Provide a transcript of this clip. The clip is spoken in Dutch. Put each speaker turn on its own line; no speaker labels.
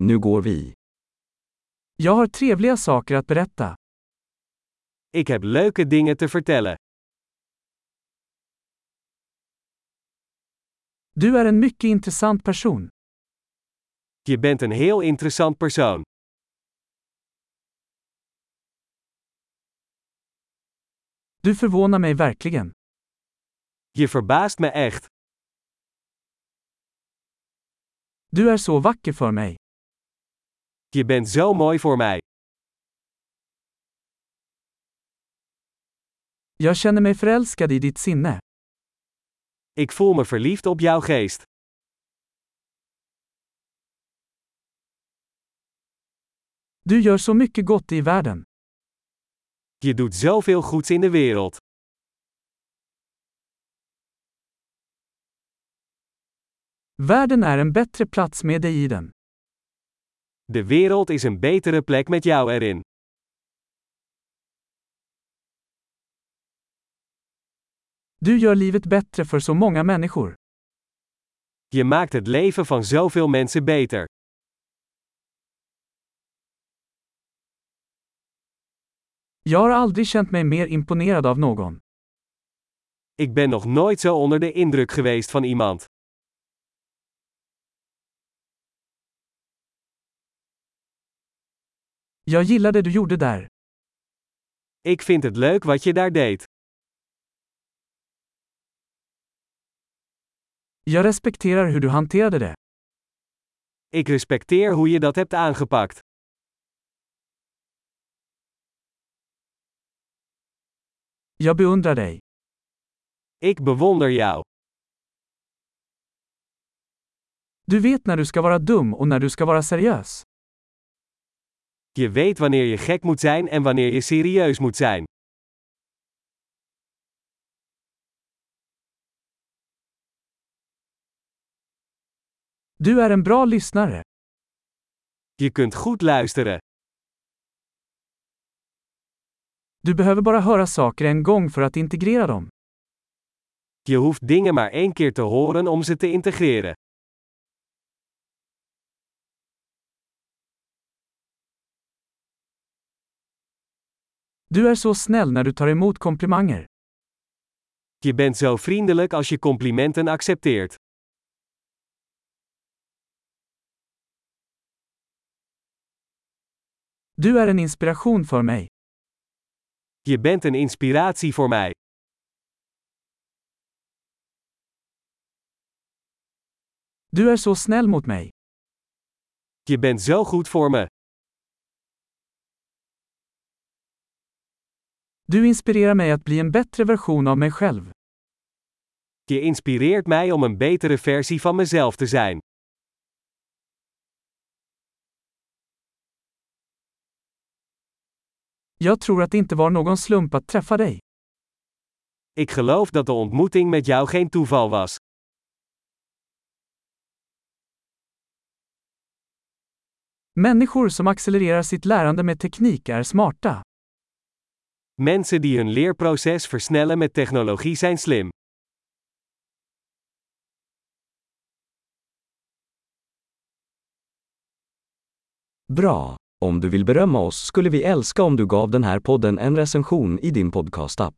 Nu går vi.
Jag har trevliga saker att berätta.
Ik heb leuke dingen te vertellen.
Du är en mycket intressant person.
Je bent een heel interessant persoon.
Du förvånar mig verkligen.
Je verbaast me echt.
Du är så vacker för mig.
Je bent zo mooi voor mij.
Jag känner mig förälskad i ditt sinne.
Ik voel me verliefd op jouw geest.
Du gör så mycket gott i världen.
Je doet zoveel goeds in de wereld.
Världen är en bättre plats med dig i den.
De wereld is een betere plek met jou erin.
Du gör livet bättre för så många människor.
Je maakt het leven van zoveel mensen beter.
Jag har aldrig känt mig mer imponerad av någon.
Ik ben nog nooit zo onder de indruk geweest van iemand.
Jag gillar det du gjorde där.
Ik vind het leuk wat je daar deed.
Jag respekterar hur du hanterade det.
Ik respecteer hoe je dat hebt aangepakt.
Jag beundrar dig.
Ik bewonder jou.
Du vet när du ska vara dum och när du ska vara seriös.
Je weet wanneer je gek moet zijn en wanneer je serieus moet zijn.
Du är en bra lyssnare.
Je kunt goed luisteren.
Du behöver bara höra saker en gång för att integrera dem.
Je hoeft dingen maar één keer te horen om ze te integreren.
Du är så snäll när du tar emot komplimanger.
Je bent zo vriendelijk als je complimenten accepteert.
Du är en inspiration för mig.
Je bent een inspiratie voor mij.
Du är så snäll mot mig.
Je bent zo goed voor me.
Du inspirerar mig att bli en bättre version av mig själv.
Je inspireert mij om een betere versie van mezelf te zijn.
Jag tror att det inte var någon slump att träffa dig.
Ik geloof dat de ontmoeting met jou geen toeval was.
Människor som accelererar sitt lärande med teknik är smarta.
Mensen die hun leerproces versnellen met technologie zijn slim.
Bra! Om du vill berömma oss skulle vi älska om du gav den här podden en recension i din podcastapp.